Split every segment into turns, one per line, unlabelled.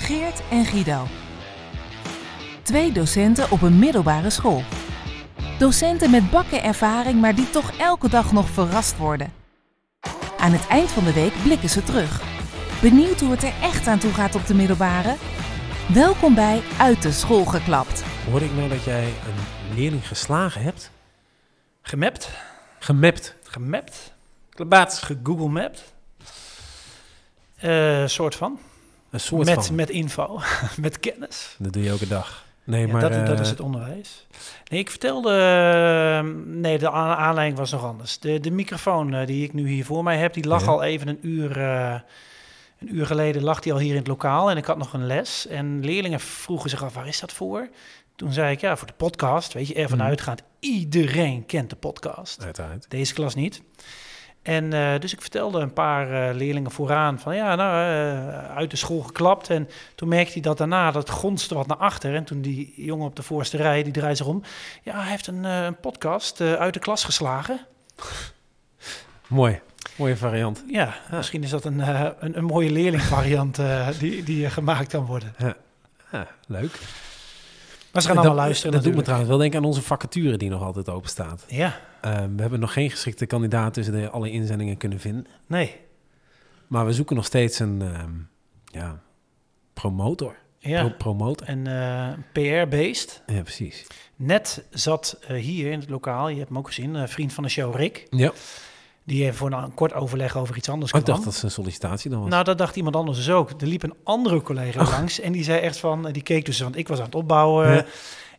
Geert en Guido. Twee docenten op een middelbare school. Docenten met bakken ervaring, maar die toch elke dag nog verrast worden. Aan het eind van de week blikken ze terug. Benieuwd hoe het er echt aan toe gaat op de middelbare? Welkom bij Uit de School geklapt.
Hoor ik nou dat jij een leerling geslagen hebt?
Gemapt?
Gemapt.
Gemapt? Klabaats gegoogle mapt? Eh, soort van.
Een soort
met,
van.
met info, met kennis.
Dat doe je elke dag. Nee,
Ja,
maar...
dat, dat
eh,
is het onderwijs. Nee, ik vertelde... eh, Nee, de a- aanleiding was nog anders. De, de microfoon eh, die ik nu hier voor mij heb, die lag
Ja.
al even een uur... eh, een uur geleden lag die al hier in het lokaal en ik had nog een les. En leerlingen vroegen zich af, waar is dat voor? Toen zei ik, ja, voor de podcast. Weet je, ervan
Mhm.
uitgaand, iedereen kent de podcast.
Uiteraard.
Deze klas niet. En eh, dus ik vertelde een paar eh, leerlingen vooraan van ja, nou, eh, uit de school geklapt. En toen merkte hij dat daarna, dat gonste wat naar achter. En toen die jongen op de voorste rij, die draait zich om. Ja, hij heeft een, eh, een podcast eh, uit de klas geslagen.
Mooi. Mooie variant.
Ja,
Ja.
misschien is dat een, eh, een, een mooie leerlingvariant eh, die, die eh, gemaakt kan worden.
Ja, leuk.
Maar ze gaan allemaal luisteren
Dat doet me
natuurlijk.
trouwens wel denken aan onze vacature die nog altijd open staat. Ehm,
Ja,
we hebben nog geen geschikte kandidaat tussen de alle inzendingen kunnen vinden.
nee.
Maar we zoeken nog steeds een ehm, ja, promotor. Pro-
Ja.
promotor.
En eh, PR-beest.
Ja, precies.
Net zat eh, hier in het lokaal, je hebt hem ook gezien, een vriend van de show Rick.
Ja.
Die even voor een, een kort overleg over iets anders
Oh, Ik
kwam.
dacht dat ze een sollicitatie dan was. Oh.
Nou, dat dacht iemand anders dus ook. Er liep een andere collega langs en die zei echt van... Die keek dus, want ik was aan het opbouwen.
Ja.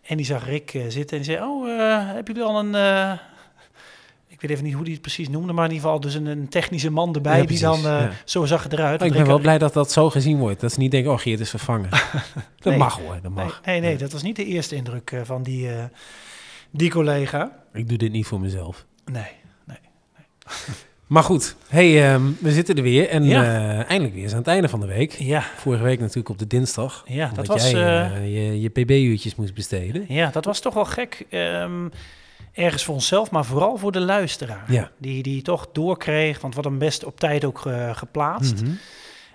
En die zag Rick eh, zitten en die zei... Oh, eh heb je al een... eh, ik weet even niet hoe die het precies noemde, maar in ieder geval dus een, een technische man erbij.
Ja,
die dan,
precies,
eh,
ja.
zo zag het eruit.
Oh, ik
Want
ben wel
Rick-
blij dat dat zo gezien wordt. Dat ze niet denken, oh, Geert is vervangen. Dat
Nee.
mag hoor, dat mag.
Nee, nee, nee, dat was niet de eerste indruk eh, van die, eh, die collega.
Ik doe dit niet voor mezelf.
Nee.
Maar goed, hey, ehm, we zitten er weer. En
Ja.
eh, eindelijk weer eens aan het einde van de week.
Ja,
Vorige week natuurlijk op de dinsdag.
ja dat
omdat
was...
jij
eh,
eh, je, je pb-uurtjes moest besteden.
Ja, dat was toch wel gek. ehm, ergens voor onszelf, maar vooral voor de luisteraar.
Ja.
Die, die toch doorkreeg, want wat hem best op tijd ook eh, geplaatst.
Mhm.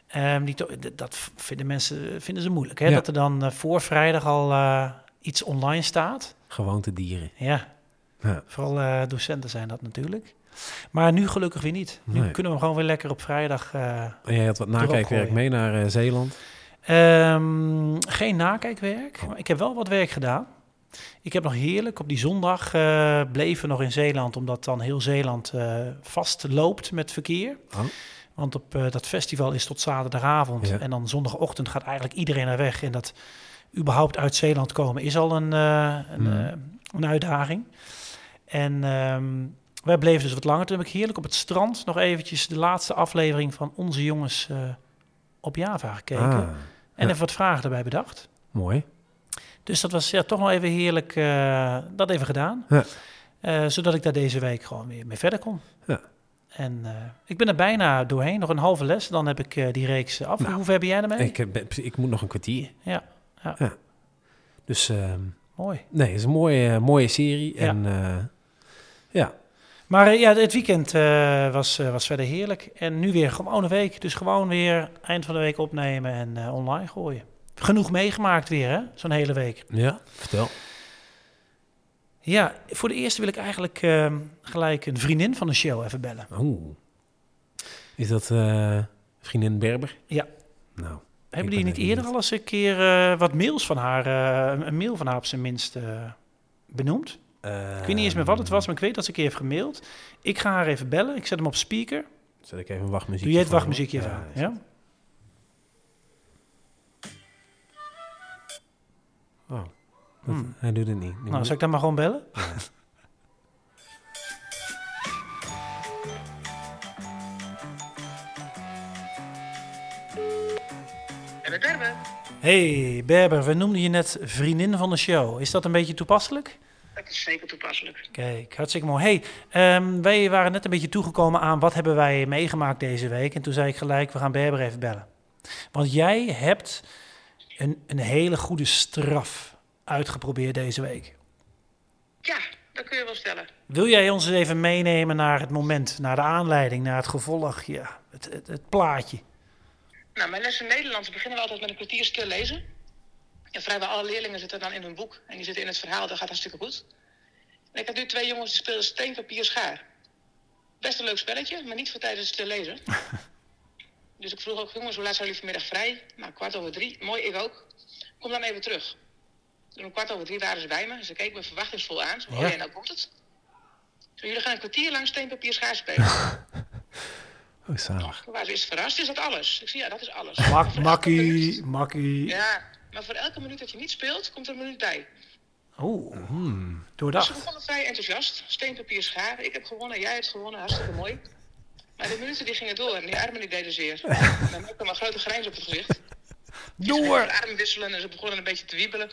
Ehm, die to- d- dat v- vinden mensen vinden ze moeilijk. Hè?
Ja.
Dat er dan eh, voor vrijdag al eh, iets online staat.
Gewoonte dieren.
Ja,
Ja.
vooral eh, docenten zijn dat natuurlijk. Maar nu gelukkig weer niet. Nu
Nee.
kunnen we hem gewoon weer lekker op vrijdag. eh,
En jij had wat nakijkwerk
gooien.
mee naar eh, Zeeland.
Ehm, geen nakijkwerk.
Oh.
Maar ik heb wel wat werk gedaan. Ik heb nog heerlijk op die zondag eh, bleven we nog in Zeeland, omdat dan heel Zeeland eh vastloopt met verkeer.
Oh.
Want op eh, dat festival is tot zaterdagavond
Ja.
en dan zondagochtend gaat eigenlijk iedereen naar weg. En dat überhaupt uit Zeeland komen is al een, eh, een,
Mhm.
eh, een uitdaging. En ehm, wij bleven dus wat langer. Toen heb ik heerlijk op het strand nog eventjes de laatste aflevering van Onze Jongens eh, op Java gekeken.
Ah,
En
Ja.
even wat vragen erbij bedacht.
mooi.
Dus dat was ja, toch nog even heerlijk eh, dat even gedaan.
Ja.
Eh, zodat ik daar deze week gewoon weer mee verder kon.
Ja.
En eh, ik ben er bijna doorheen. Nog een halve les. Dan heb ik eh, die reeks af.
Nou,
Hoe ver ben jij ermee?
Ik, heb- ik moet nog een kwartier.
Ja, ja.
Dus ehm,
Mooi.
nee, het is een mooie, mooie serie.
Ja.
En eh, ja,
Maar eh, ja, het weekend eh, was, eh, was verder heerlijk. En nu weer gewoon een week. Dus gewoon weer eind van de week opnemen en eh, online gooien. Genoeg meegemaakt weer, hè? Zo'n hele week.
ja, vertel.
Ja, voor de eerste wil ik eigenlijk eh, gelijk een vriendin van de show even bellen.
Oeh. Is dat eh, vriendin Berber?
Ja.
Nou,
Hebben
Ik ben
die niet
er
eerder
niet.
al eens een keer eh, wat mails van haar, eh, een- een mail van haar op zijn minst eh, benoemd?
eh,
Ik weet niet eens meer wat
Ehm.
het was, maar ik weet dat ze een keer heeft gemaild. Ik ga haar even bellen, ik zet hem op speaker.
Zet ik even een wachtmuziekje
Doe jij het
voor,
wachtmuziekje
hoor.
even aan, ja?
Oh, dat-
Hmm.
hij doet het niet.
Nou, zal ik dan maar gewoon bellen?
Hebben derben.
Hey Berber, we noemden je net vriendin van de show. Is dat een beetje toepasselijk?
Het is zeker toepasselijk.
Kijk, hartstikke mooi. Hey, ehm, wij waren net een beetje toegekomen aan wat hebben wij meegemaakt deze week. En toen zei ik gelijk, we gaan Berber even bellen. Want jij hebt een, een hele goede straf uitgeprobeerd deze week.
Ja, dat kun je wel stellen.
Wil jij ons eens even meenemen naar het moment, naar de aanleiding, naar het gevolg, ja, het, het, het plaatje?
Nou, mijn lessen Nederlands beginnen we altijd met een kwartier stil lezen. En vrijwel alle leerlingen zitten dan in hun boek. En die zitten in het verhaal, dat gaat hartstikke goed. En ik heb nu twee jongens die spelen steen, papier, schaar. Best een leuk spelletje, maar niet voor tijdens het stil lezen. dus ik vroeg ook, jongens, hoe laat zijn jullie vanmiddag vrij? Nou, kwart over drie. Mooi, ik ook. Kom dan even terug. Toen om kwart over drie waren ze bij me. Ze keken me verwachtingsvol aan. Ze
Ja.
ja. en nou komt het. Zo, jullie gaan een kwartier lang steen, papier, schaar spelen.
Oh, zalig.
Waar ze is verrast, is dat alles. Ik zie, ja, dat is alles. Maar
Mak,
voor elke minuut-
makkie, makkie.
Ja, maar voor elke minuut dat je niet speelt, komt er een minuut bij.
Oeh, hmm.
Ze
doordacht.
begonnen vrij enthousiast. Steen, papier, schaar. Ik heb gewonnen, jij hebt gewonnen. Hartstikke mooi. Maar de minuten die gingen door en die armen die deden zeer. Dan heb ik hem een grote grijns op het gezicht.
Door!
De armen wisselen en ze begonnen een beetje te wiebelen.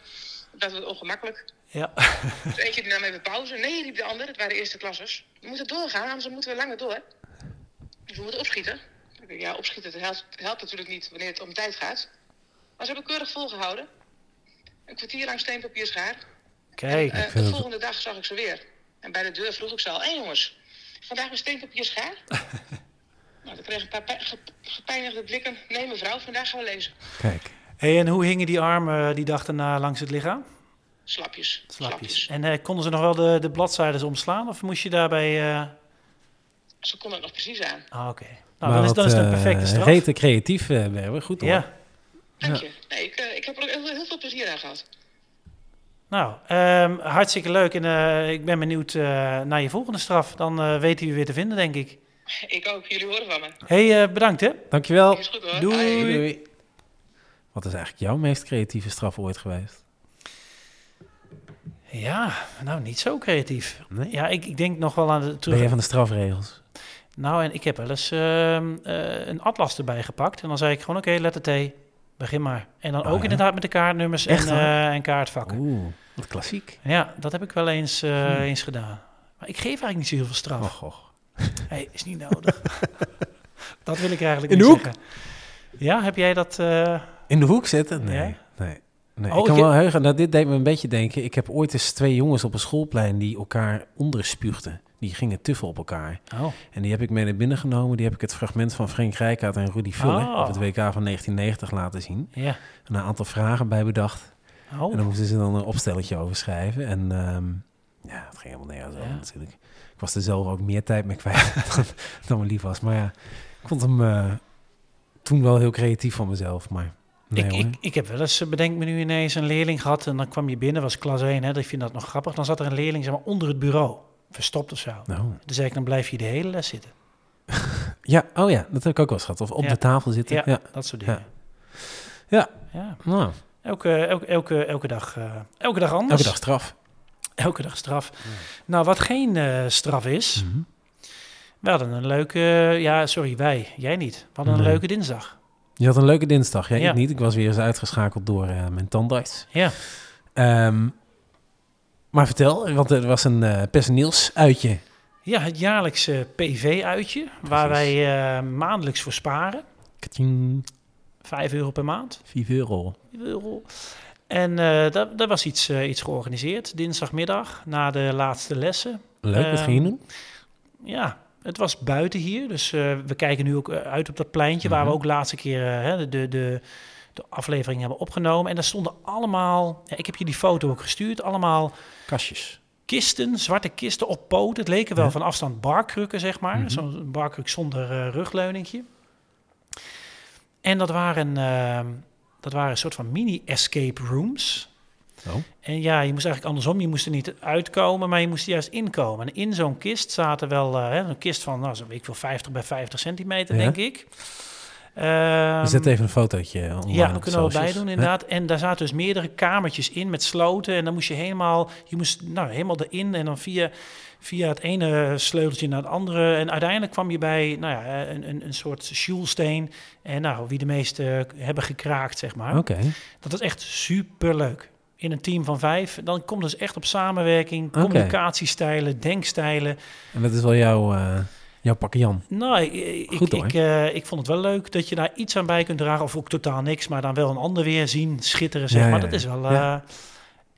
Dat was ongemakkelijk.
Ja,
Dus eentje die nam even pauze. Nee, riep de ander. Het waren eerste klassers. We moeten doorgaan, anders moeten we langer door. Dus we moeten opschieten. Ik denk, Ja, opschieten dat helpt, helpt natuurlijk niet wanneer het om tijd gaat. Maar ze hebben keurig volgehouden. Een kwartier lang steen, papier, schaar.
kijk.
Eh,
vind
de
het-
volgende dag zag ik ze weer. En bij de deur vroeg ik ze al: hé jongens, vandaag weer steenpapier schaar? nou, dan kreeg ik een paar pe- ge- gepijnigde blikken. Nee, mevrouw, vandaag gaan we lezen.
Kijk.
Hey, en hoe hingen die armen die dag daarna langs het lichaam?
Slapjes.
Slapjes. En eh, konden ze nog wel de, de bladzijden omslaan? Of moest je daarbij... eh,
Ze kon het nog precies aan.
Ah, oké. Nou, dan is, dan is het
eh,
een perfecte straf.
Rete creatief, eh Berber. Goed hoor.
ja.
Dank je. Nee, ik, eh, ik heb er ook heel, heel veel plezier aan gehad.
Nou, ehm, hartstikke leuk. En eh, ik ben benieuwd eh, naar je volgende straf. Dan eh weten we je weer te vinden, denk ik.
Ik ook, jullie horen van me.
hey, eh, bedankt hè.
Dankjewel.
Is goed hoor.
Doei.
Hoi.
Wat is eigenlijk jouw meest creatieve straf ooit geweest?
Ja, nou, niet zo creatief.
Nee?
Ja, ik, ik denk nog wel aan de...
Ben
Terug...
jij van de strafregels?
Nou, en ik heb wel eens ehm, eh, een atlas erbij gepakt. En dan zei ik gewoon, oké, letter T, begin maar. En dan
Oh,
ook
ja?
inderdaad met de kaartnummers
Echt
en,
waar?
eh, en kaartvakken.
Oeh, wat klassiek.
Ja, dat heb ik wel eens, eh, eens gedaan. Maar ik geef eigenlijk niet zo heel veel straf.
Hm. Och, och.
Hey, is niet nodig. dat wil ik eigenlijk
In
niet
de hoek?
zeggen. Ja, heb jij dat? eh,
In de hoek zitten? Nee.
Ja?
nee. nee.
Oh,
ik kan
ik-
wel heugen, nou, dit deed me een beetje denken. Ik heb ooit eens twee jongens op een schoolplein die elkaar onderspuugden. Die gingen tuffen op elkaar.
oh,
En die heb ik mee naar binnen genomen. Die heb ik het fragment van Frank Rijkaard en Rudy Vuller
Ah.
op het WK van 1990 laten zien.
ja.
En een aantal vragen bij bedacht.
Oh,
En dan moesten ze dan een opstelletje over schrijven. En ehm, ja, het ging helemaal nergens over
Ja.
natuurlijk. Ik was er zelf ook meer tijd mee kwijt dan, dan me lief was. Maar ja, ik vond hem eh, toen wel heel creatief van mezelf. Maar nee
ik,
hoor.
ik, ik heb wel eens, eh, bedenk me nu ineens, een leerling gehad. En dan kwam je binnen, was klas 1, hè, ik vind dat nog grappig. Dan zat er een leerling zeg maar, onder het bureau, verstopt of zo.
Nou,
Toen zei ik, dan blijf je de hele les zitten.
ja, oh ja, dat heb ik ook wel eens gehad. Of op
Ja.
de tafel zitten.
Ja,
Ja, ja.
dat soort dingen.
Ja.
Ja.
Nou,
Elke, elke, elke, elke, dag, eh, elke dag anders.
elke dag straf.
Elke dag straf. Nou, wat geen eh, straf is.
Mhm.
We hadden een leuke... ja, sorry, wij. Jij niet. We hadden een
Nee.
leuke dinsdag.
Je had een leuke dinsdag. Ja,
Ja.
ik niet. Ik was weer eens uitgeschakeld door eh, mijn tandarts.
Ja.
Ehm, maar vertel, want er was een eh, personeelsuitje.
Ja, het jaarlijkse PV-uitje, waar wij eh, maandelijks voor sparen.
Katjing,
5 euro per maand.
4 euro.
5 euro. En eh, daar, daar was iets, eh, iets georganiseerd, dinsdagmiddag, na de laatste lessen.
Leuk, wat
Ehm,
ging je doen?
Ja, het was buiten hier, dus eh, we kijken nu ook eh, uit op dat pleintje... waar we
Mhm.
ook laatste keer eh, hè, de, de, de aflevering hebben opgenomen. En daar stonden allemaal, ja, ik heb je die foto ook gestuurd, allemaal
Kastjes.
kisten, zwarte kisten op poot. Het leken wel
Ja.
van afstand barkrukken, zeg maar.
Mhm.
Zo'n barkruk zonder eh rugleuning. En dat waren, ehm, dat waren een soort van mini-escape rooms.
Oh.
En ja, je moest eigenlijk andersom. Je moest er niet uitkomen, maar je moest er juist inkomen. En in zo'n kist zaten wel eh, hè, een kist van, nou, zo, ik wil 50 bij 50 centimeter,
Ja.
denk ik.
We
Ehm,
zetten even een fotootje online
ja,
op
dat
de
kunnen we wel bij
socials.
doen
Ja.
inderdaad. En daar zaten dus meerdere kamertjes in met sloten. En dan moest je helemaal, je moest nou, helemaal erin en dan via, via het ene sleuteltje naar het andere. En uiteindelijk kwam je bij nou ja, een, een, een soort sjoelsteen. En nou, wie de meeste eh, hebben gekraakt, zeg maar.
Oké.
Dat was echt superleuk. In een team van vijf, dan komt dus echt op samenwerking,
Oké.
communicatiestijlen, denkstijlen.
En dat is wel jouw, eh jouw pakje Jan.
Nou, ik, ik,
Goed, hoor.
ik, eh, ik vond het wel leuk dat je daar iets aan bij kunt dragen. Of ook totaal niks, maar dan wel een ander weer zien, schitteren, zeg
Ja,
maar.
ja,
Dat is wel
ja.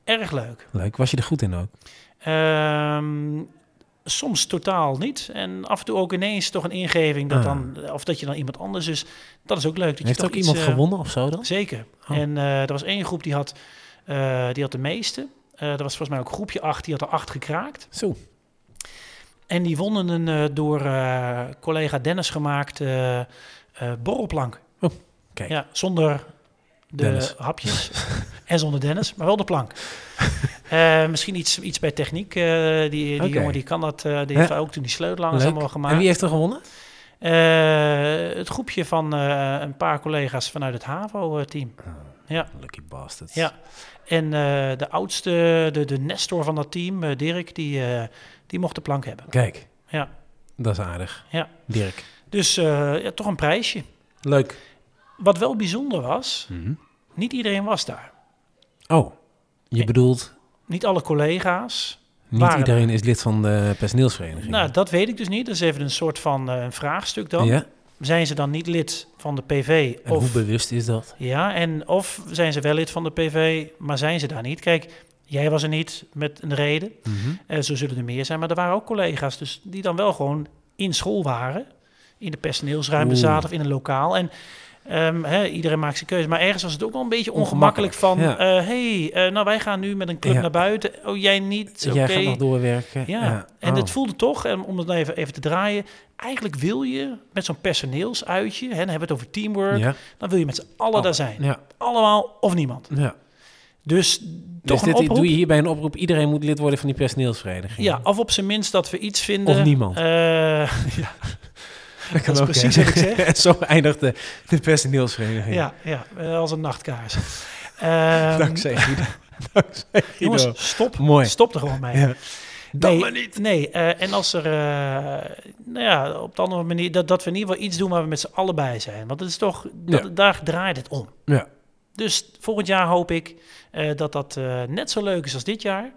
eh, erg leuk.
Leuk. Was je er goed in ook?
Ehm, soms totaal niet. En af en toe ook ineens toch een ingeving dat
Ah.
dan, of dat je dan iemand anders is. Dat is ook leuk. Dat je
Heeft
toch
ook
iets,
iemand
eh,
gewonnen of zo dan?
Zeker.
Oh.
En eh, er was één groep die had, eh, die had de meeste. Eh er was volgens mij ook groepje 8, die had er acht gekraakt.
Zo.
En die wonnen een eh, door eh, collega Dennis gemaakt eh, eh, borrelplank.
Oh, kijk.
Ja, zonder de
Dennis.
hapjes en zonder Dennis, maar wel de plank. Eh, misschien iets, iets bij techniek. eh, die die
Oké.
jongen die kan dat, eh, die
Ja.
heeft ook toen die sleutelaar
Leuk.
allemaal gemaakt.
En wie heeft er gewonnen?
Eh, het groepje van eh, een paar collega's vanuit het eh, HAVO-team. Ja.
Lucky bastards.
Ja. En eh, de oudste, de, de Nestor van dat team, eh, Dirk, die, eh, die mocht de plank hebben.
Kijk,
Ja.
dat is aardig.
Ja.
Dirk.
Dus eh, ja, toch een prijsje.
Leuk.
Wat wel bijzonder was,
Mhm.
niet iedereen was daar.
Oh, je
Nee.
bedoelt,
Niet alle collega's.
niet
Waren
iedereen is lid van de personeelsvereniging.
Nou, dat weet ik dus niet. Dat is even een soort van eh, een vraagstuk dan.
Ja?
Zijn ze dan niet lid van de PV?
En hoe bewust is dat?
Ja, en of zijn ze wel lid van de PV, maar zijn ze daar niet? Kijk, jij was er niet met een reden.
Mhm.
Eh, zo zullen er meer zijn, maar er waren ook collega's dus die dan wel gewoon in school waren. In de personeelsruimte
Oeh.
zaten of in een lokaal. En ehm, hè, iedereen maakt zijn keuze. Maar ergens was het ook wel een beetje ongemakkelijk,
Ongemakkelijk,
van... hé, hey, eh, nou wij gaan nu met een club
Ja.
naar buiten. Oh, jij niet? Oké.
Jij gaat nog doorwerken.
Ja, en
Oh.
het voelde toch, en om het nou even, even te draaien... eigenlijk wil je met zo'n personeelsuitje... Hè, dan hebben we het over teamwork...
Ja. Oh,
dan wil je met z'n allen daar zijn.
Ja.
Allemaal of niemand.
ja.
Dus toch
dus
een
dit
oproep.
doe je hierbij een oproep. Iedereen moet lid worden van die personeelsvereniging.
Ja, of op zijn minst dat we iets vinden.
Of niemand.
Eh, ja,
dat, kan ook,
is
hè.
precies wat ik zeg.
En zo eindigt de, de personeelsvereniging.
ja, ja, eh, als een nachtkaars. Ehm,
Dankzij Guido. Dankzij Guido.
jongens, stop.
Mooi.
Stop er gewoon mee.
Ja. Dat
nee,
maar
Nee, eh, en als er, eh, nou ja, op de andere manier, dat, dat we in ieder geval iets doen waar we met z'n allen bij zijn. Want het is toch, dat,
Ja.
daar draait het om.
Ja.
Dus volgend jaar hoop ik eh, dat dat eh, net zo leuk is als dit jaar.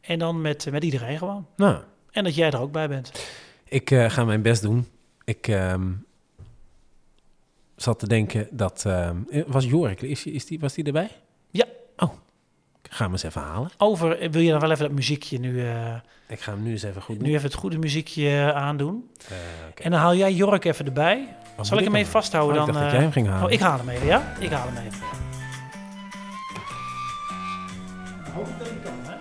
En dan met, met iedereen gewoon.
Nou,
En dat jij er ook bij bent.
ik eh, ga mijn best doen. Ik ehm, zat te denken dat... ehm, eh, was Jorik, is, is die, was die erbij?
Ja.
Oh, ik ga hem eens even halen.
Over, eh, wil je dan wel even dat muziekje nu, eh,
Ik ga hem nu eens even goed
nu
doen.
even het goede muziekje aandoen?
Eh, oké.
En dan haal jij Jork even erbij.
Wat
Zal ik
moet
hem
dan
even vasthouden
doen? Oh,
dan?
Ik dacht
eh,
dat jij hem ging halen.
Oh, ik haal hem even, ja? Ik haal hem even. Hoop dat ik kan, hè?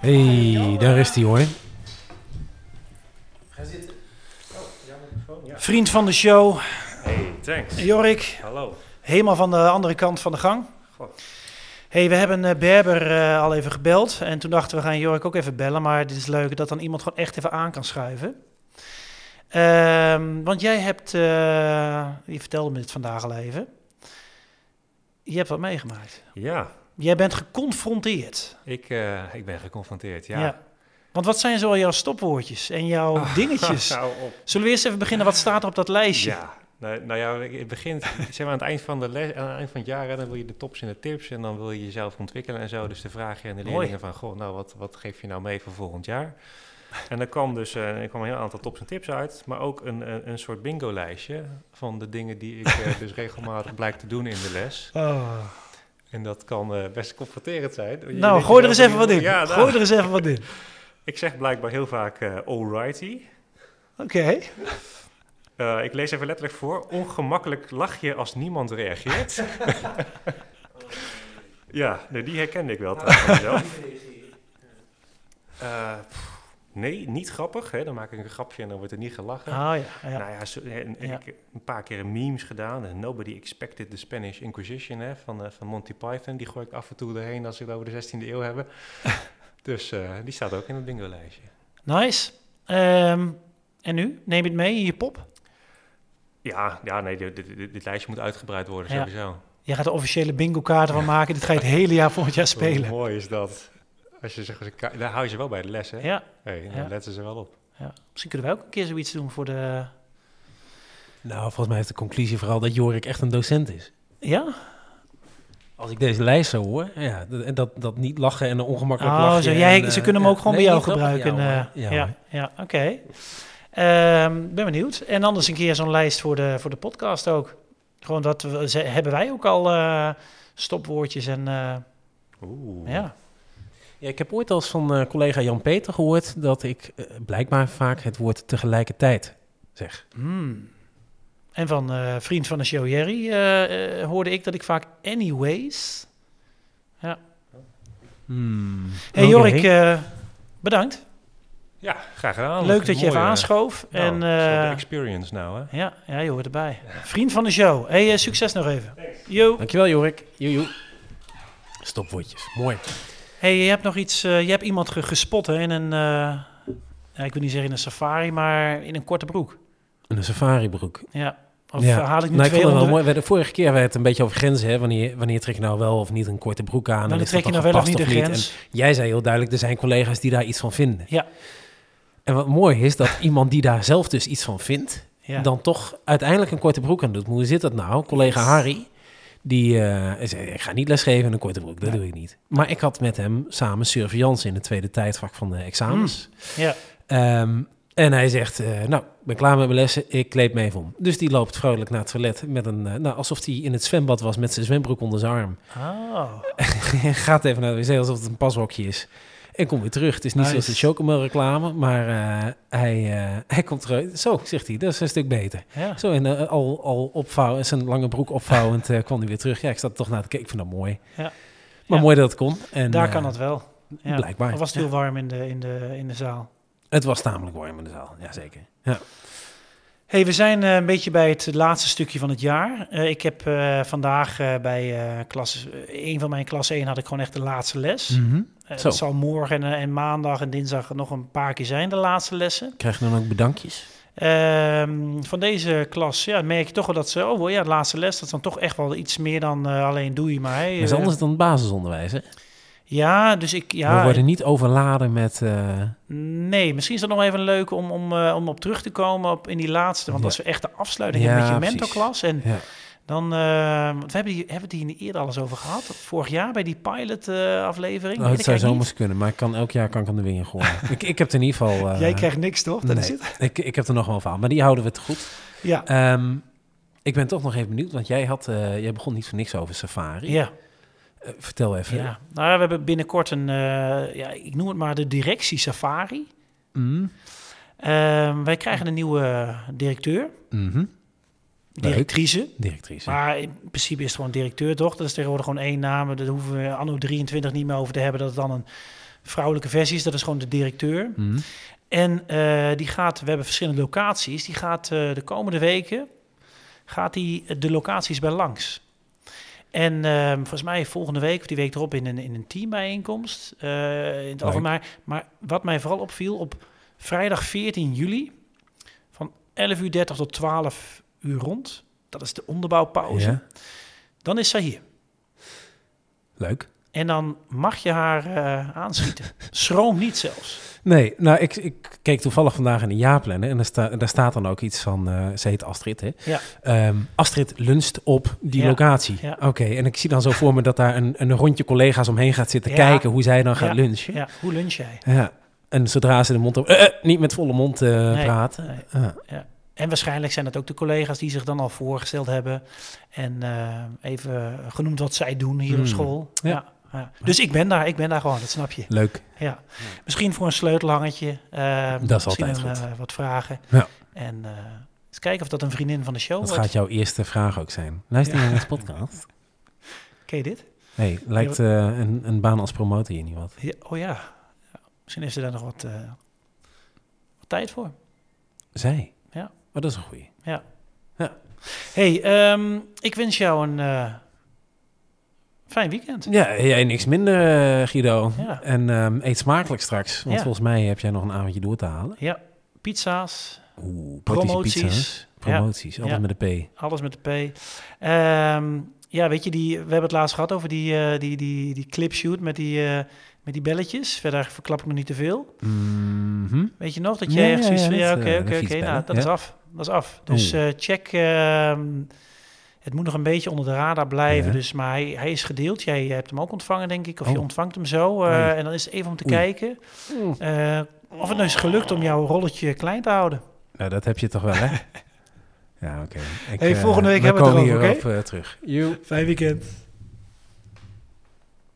hey, daar is hij hoor.
Vriend van de show,
Hey, thanks.
Jorik,
Hallo.
helemaal van de andere kant van de gang.
God.
hey, we hebben eh, Berber eh, al even gebeld. En toen dachten we gaan Jorik ook even bellen. Maar dit is leuk dat dan iemand gewoon echt even aan kan schuiven. Ehm, want jij hebt, eh, je vertelde me dit vandaag al even. Je hebt wat meegemaakt.
Ja,
Jij bent geconfronteerd.
ik, eh, ik ben geconfronteerd. Ja. Oh.
Ja. Want wat zijn zo jouw stopwoordjes en jouw dingetjes?
Hou op.
Zullen we eerst even beginnen? Wat staat er op dat lijstje?
Ja. Nou, nou ja, ik- het begint zeg maar, aan, het eind van de les, aan het eind van het jaar. hè, dan wil je de tops en de tips. En dan wil je jezelf ontwikkelen en zo. Dus de vragen aan de
Mooi.
leerlingen van... Goh, nou, wat, wat geef je nou mee voor volgend jaar? En er kwam dus eh, er kwam een heel aantal tops en tips uit. Maar ook een, een, een soort bingo-lijstje van de dingen die ik eh, dus regelmatig blijk te doen in de les.
Oh.
En dat kan eh, best confronterend zijn. Je
Nou,
weet
gooi er
jezelf
eens even wat
niet-
in.
Ja, nou,
Gooi er eens even wat in.
Ik zeg blijkbaar heel vaak eh alrighty.
Oké.
Eh, ik lees even letterlijk voor. Ongemakkelijk lach je als niemand reageert. ja, nee, die herkende ik wel trouwens van mezelf. Eh, pff, nee, niet grappig. Hè? Dan maak ik een grapje en dan wordt er niet gelachen.
Ah ja. ja.
Nou ja, zo- en- en
Ja.
ik heb een paar keer memes gedaan. Eh, Nobody expected the Spanish Inquisition hè, van, eh, van Monty Python. Die gooi ik af en toe erheen als we het over de 16e eeuw hebben. dus eh, die staat ook in het bingo-lijstje.
Nice. Ehm, en nu? Neem je het mee in je pop?
Ja, ja nee, dit, dit- dit- dit lijstje moet uitgebreid worden
Ja.
sowieso.
Jij gaat de officiële bingo kaart ervan maken. Dit ga je het hele jaar volgend jaar spelen.
Hoe mooi is dat? Als je zegt, daar hou je ze wel bij de les, hè?
Ja,
Hey, dan
Ja.
letten ze wel op.
ja. Misschien kunnen wij ook een keer zoiets doen voor de...
Nou, volgens mij is de conclusie vooral dat Jorik echt een docent is.
Ja?
Als ik deze lijst zou hoor, ja, d- en dat, dat niet lachen en eh, een ongemakkelijk
Oh,
lachen.
zo. Jij, ze
eh,
kunnen hem ook gewoon bij jou gebruiken.
Ja,
eh,
hoor.
ja,
hoor.
ja, oké. Ehm, ben benieuwd. En anders een keer zo'n lijst voor de, voor de podcast ook. Gewoon dat we, ze, hebben wij ook al eh, stopwoordjes en eh,
Oeh.
ja.
Ja, ik heb ooit als van eh, collega Jan-Peter gehoord dat ik eh, blijkbaar vaak het woord tegelijkertijd zeg.
Hmm. En van eh, vriend van de show Jerry eh, eh, hoorde ik dat ik vaak anyways. Hey
Hmm.
Oké.
Jorik, eh, bedankt.
Ja, graag gedaan.
Leuk dat je even
Oh, Mooi, eh,
aanschoof.
nou,
en,
het is wel
eh,
de experience nou, hè?
ja, ja, je hoort erbij. Vriend van de show. Hey, eh, succes nog even. Yo.
Dankjewel Jorik. Joejoe. Stopwoordjes, mooi.
Hey, je hebt nog iets. eh, je hebt iemand ge- gespot hè, in een. eh, ja, ik wil niet zeggen in een safari, maar in een korte broek.
En Een safaribroek.
Ja. Of
Ja.
eh, haal ik nu
Nou, ik
twee
vond het wel
onder-
mooi. We hadden- Vorige keer hebben we het een beetje over grenzen. Hè? Wanneer, wanneer trek je nou wel of niet een korte broek aan? en
Dan
is
trek je
dat dan
nou wel of niet
gepast
de grens.
En jij zei heel duidelijk, er zijn collega's die daar iets van vinden.
Ja.
En wat mooi is, dat iemand die daar zelf dus iets van vindt...
Ja.
dan toch uiteindelijk een korte broek aan doet. Maar hoe zit dat nou? Collega Harry, die eh, zei, ik ga niet lesgeven in een korte broek. Dat doe ik niet. Maar ik had met hem samen surveillance in het tweede tijdvak van de examens.
ja.
Ehm, en hij zegt, eh, nou, ik ben klaar met mijn lessen, ik kleed me even om. Dus die loopt vrolijk naar het toilet, met een, eh, nou, alsof hij in het zwembad was met zijn zwembroek onder zijn arm.
Oh.
En Gaat even naar de wc, alsof het een pashokje is. En komt weer terug. Het is niet
Nice.
zoals de chocomel reclame, maar eh, hij, eh, hij komt terug. Zo, zegt hij, dat is een stuk beter.
Ja.
Zo, en eh, al, al opvouwen, zijn lange broek opvouwend, eh, kwam hij weer terug. Ja, ik zat toch naar te kijken, ik vind dat mooi.
Ja.
Maar
Ja.
mooi dat het kon. En,
Daar
eh,
kan dat wel. Ja.
Blijkbaar.
Of was het heel warm in de, in de, in de zaal?
Het was tamelijk warm in de zaal, jazeker. Ja.
Hey, we zijn eh, een beetje bij het laatste stukje van het jaar. Eh, ik heb eh, vandaag eh, bij eh klas, een van mijn klas 1 had ik gewoon echt de laatste les.
Mhm.
Eh,
Zo.
dat zal morgen en, eh, en maandag en dinsdag nog een paar keer zijn, de laatste lessen.
Krijg je dan ook bedankjes?
Ehm, van deze klas ja, merk je toch wel dat ze, oh wel, ja, de laatste les, dat is dan toch echt wel iets meer dan eh, alleen doe je maar. hè.
Dat is anders dan het basisonderwijs, hè?
Ja, dus ik,
we
ja,
worden niet overladen met... eh,
nee, misschien is dat nog even leuk om, om, eh, om op terug te komen op, in die laatste, want
Ja.
dat is echt de afsluiting
Ja,
met je
precies.
mentorklas. En
ja.
dan, eh, want we hebben, die, hebben we het hier eerder alles over gehad, vorig jaar bij die pilot eh, aflevering.
Nou,
Weet
het zou
ik eigenlijk
zomaar kunnen, maar ik kan, elk jaar kan ik aan de wingen gooien. ik, ik heb er in ieder geval...
niet.
eh,
Jij krijgt niks, toch? Dat is
nee,
het.
ik, ik heb er nog wel van, maar die houden we te goed.
Ja.
Ehm, ik ben toch nog even benieuwd, want jij, had, eh, jij begon niet voor niks over safari.
ja.
Eh, vertel even.
Ja, nou, we hebben binnenkort een, eh, ja, ik noem het maar de directie safari.
Mm.
Ehm, wij krijgen een nieuwe directeur,
Mhm.
directrice.
Directrice.
Maar in principe is het gewoon directeur, toch? Dat is tegenwoordig gewoon één naam. Daar hoeven we anno 23 niet meer over te hebben. Dat het dan een vrouwelijke versie is. Dat is gewoon de directeur.
Mhm.
En eh, die gaat, we hebben verschillende locaties. Die gaat eh, de komende weken gaat die eh, de locaties bij langs. En ehm, volgens mij volgende week of die week erop in een, in een teambijeenkomst. eh, in het algemeen. Maar, maar wat mij vooral opviel, op vrijdag 14 juli van 11.30 uur tot 12 uur rond. Dat is de onderbouwpauze.
Ja,
Dan is zij hier.
leuk.
En dan mag je haar eh, aanschieten. Schroom niet zelfs.
Nee, nou, ik, ik keek toevallig vandaag in de jaarplannen en daar, sta- daar staat dan ook iets van, eh ze heet Astrid, hè?
Ja.
Ehm, Astrid luncht op die
Ja,
locatie.
ja.
Oké, en ik zie dan zo voor me dat daar een, een rondje collega's omheen gaat zitten
Ja.
kijken hoe zij dan gaat
Ja,
lunchen. Ja.
Ja, hoe lunch jij?
En zodra ze de mond op, eh, eh, niet met volle mond eh,
Nee,
praten.
nee.
Ah.
En waarschijnlijk zijn dat ook de collega's die zich dan al voorgesteld hebben. En eh, even genoemd wat zij doen hier op
Hmm.
school. Ja.
Ja.
ja. Dus ik ben daar, ik ben daar gewoon, dat snap je.
Leuk.
Ja. Misschien voor een sleutelhangetje. eh,
Dat is
misschien
altijd
een,
goed.
eh, wat vragen.
Ja.
En eh, eens kijken of dat een vriendin van de show
Dat
wordt.
gaat jouw eerste vraag ook zijn. Luister je naar deze podcast?
Ken je dit?
Nee, lijkt eh, een, een baan als promotor hier niet wat.
Ja, oh ja. Ja, Misschien heeft ze daar nog wat, eh, wat tijd voor.
Zij?
Ja.
Maar dat is een goeie.
hey, ehm, ik wens jou een eh, fijn weekend.
Ja, jij niks minder, eh, Guido.
Ja.
En ehm, eet smakelijk straks, want
Ja.
volgens mij heb jij nog een avondje door te halen.
Ja, pizza's,
Oeh, praktische pizza's.
promoties. Ja,
Promoties, alles
Ja.
met een P.
alles met de P. Ehm, ja, weet je, die, we hebben het laatst gehad over die, eh die, die, die clipshoot met die, eh, met die belletjes. Verder verklap ik nog niet te veel.
Mhm.
Weet je nog? Dat
Ja,
jij
ja,
echt zoiets
ja,
van, ja,
dat,
oké,
eh,
oké,
de
oké. Nou,
fietsbellen,
dat
ja.
is af. Dat is af. Dus eh, check ehm, Het moet nog een beetje onder de radar blijven.
Ja.
Dus, maar hij, hij is gedeeld. Jij eh, hebt hem ook ontvangen, denk ik. Of je
Oh.
ontvangt hem zo. eh,
Oei.
En dan is het even om te
Oei.
kijken eh, of het nou is gelukt om jouw rolletje klein te houden.
Nou, dat heb je toch wel, hè? ja, oké. Ik,
Hey,
eh,
volgende week
we
hebben we het
komen
erover,
hierop, eh, terug.
Fijn weekend.